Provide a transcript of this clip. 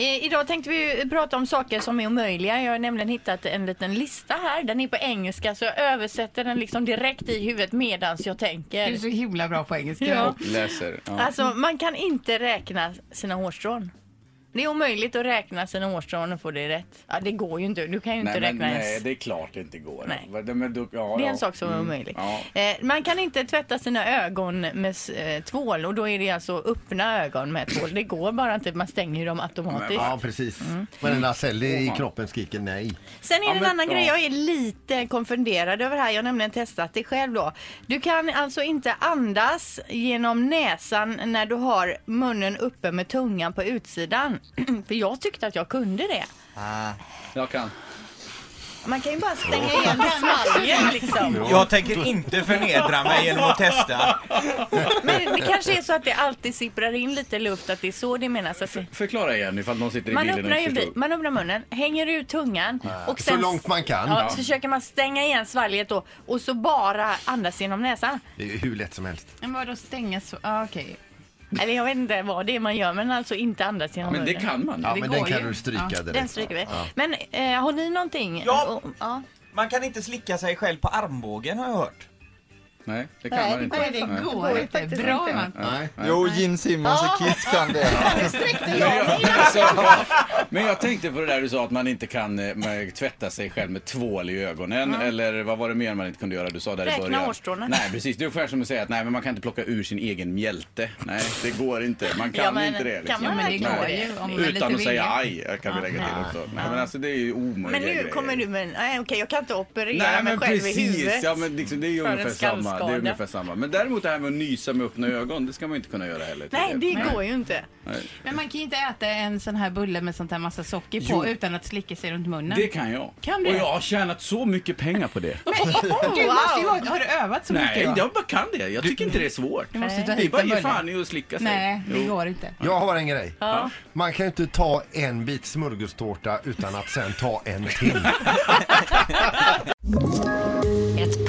Eh, Idag tänkte vi ju prata om saker som är omöjliga. Jag har nämligen hittat en liten lista här. Den är på engelska så jag översätter den liksom direkt i huvudet medans jag tänker. Du är så himla bra på engelska. Ja. Läser. Ja. Alltså man kan inte räkna sina hårstrån. Det är omöjligt att räkna sina hårstrån och få det rätt. Ja, det går ju inte. Du kan ju inte Nej, men, räkna nej, ens. det är klart det inte går. Nej. Va- det- Men, du, ja, Det är ja. Mm. en sak som är omöjlig. Ja. Eh, man kan inte tvätta sina ögon med s- eh, tvål och då är det alltså öppna ögon med tvål. Det går bara inte. Man stänger ju dem automatiskt. Ja, precis. Varenda cell Mm. i kroppen skriker nej. Sen är det Ja, en men- annan ja. grej jag är lite konfunderad över här. Jag har nämligen testat det själv då. Du kan alltså inte andas genom näsan när du har munnen uppe med tungan på utsidan. För jag tyckte att jag kunde det. Jag kan. Man kan ju bara stänga igen svalgen liksom. Jag tänker inte förnedra mig genom att testa. Men det kanske är så att det alltid sipprar in lite luft, att det är så det menas. Att det... Förklara igen ifall någon sitter i Man bilen öppnar, och ju, inte bi- förstår. man öppnar munnen, hänger ut tungan och sen Så långt man kan. ja, så försöker man stänga igen svalget då och så bara andas genom näsan. Det är ju hur lätt som helst. Men vadå stänga så? Ah, Okej. Eller jag vet inte vad det är man gör, men alltså inte andas genom Men det munnen. kan man. Ja, Det men går den kan ju. du stryka Ja, direkt. Den stryker vi. Men eh, har ni någonting? Ja. Och- ja. Man kan inte slicka sig själv på armbågen har jag hört. Nej, det kan Nej, man det går inte. Nej, det Det går går inte. faktiskt Bra inte. man. Nej. Jo, Gene Simmons och Kiss kan det. Så, men jag tänkte på det där du sa att man inte kan eh, man, tvätta sig själv med tvål i ögonen. Eller vad var det mer man inte kunde göra? Du sa där i Räkna början. hårstråna. Nej, precis. Det är ungefär som att säga att nej, men man kan inte plocka ur sin egen mjälte. Nej, det går inte. Man kan Ja, men inte det. kan Liksom. man Men det går Nej. ju om man är lite Utan att säga villig. aj, jag kan vi lägga till också. Nej, men alltså det är ju omöjliga Men nu grejer. kommer du med en- nej okej jag kan inte operera mig Nej men själv i precis, huvudet. ja, men liksom, det är ju För en ungefär samma. Det skallskada. är ungefär samma. Men däremot det här med att nysa med öppna ögon, det ska man ju inte kunna göra heller. Nej det tydligen. går ju inte. Nej. Men man kan ju inte äta en sån här bulle med sånt här massa socker på Jo. utan att slicka sig runt munnen. Det kan jag. Kan du? Och jag har tjänat så mycket pengar på det. Du måste ju ha, har du övat så Nej, mycket då? jag bara kan det. Jag tycker inte det är svårt. Du måste ta Det är hit bara en att ge bulle. fan i att slicka sig. Nej, det Jo. går inte. Jag har en grej. Man kan ju inte ta en bit smörgåstårta utan att sen ta en till. Ett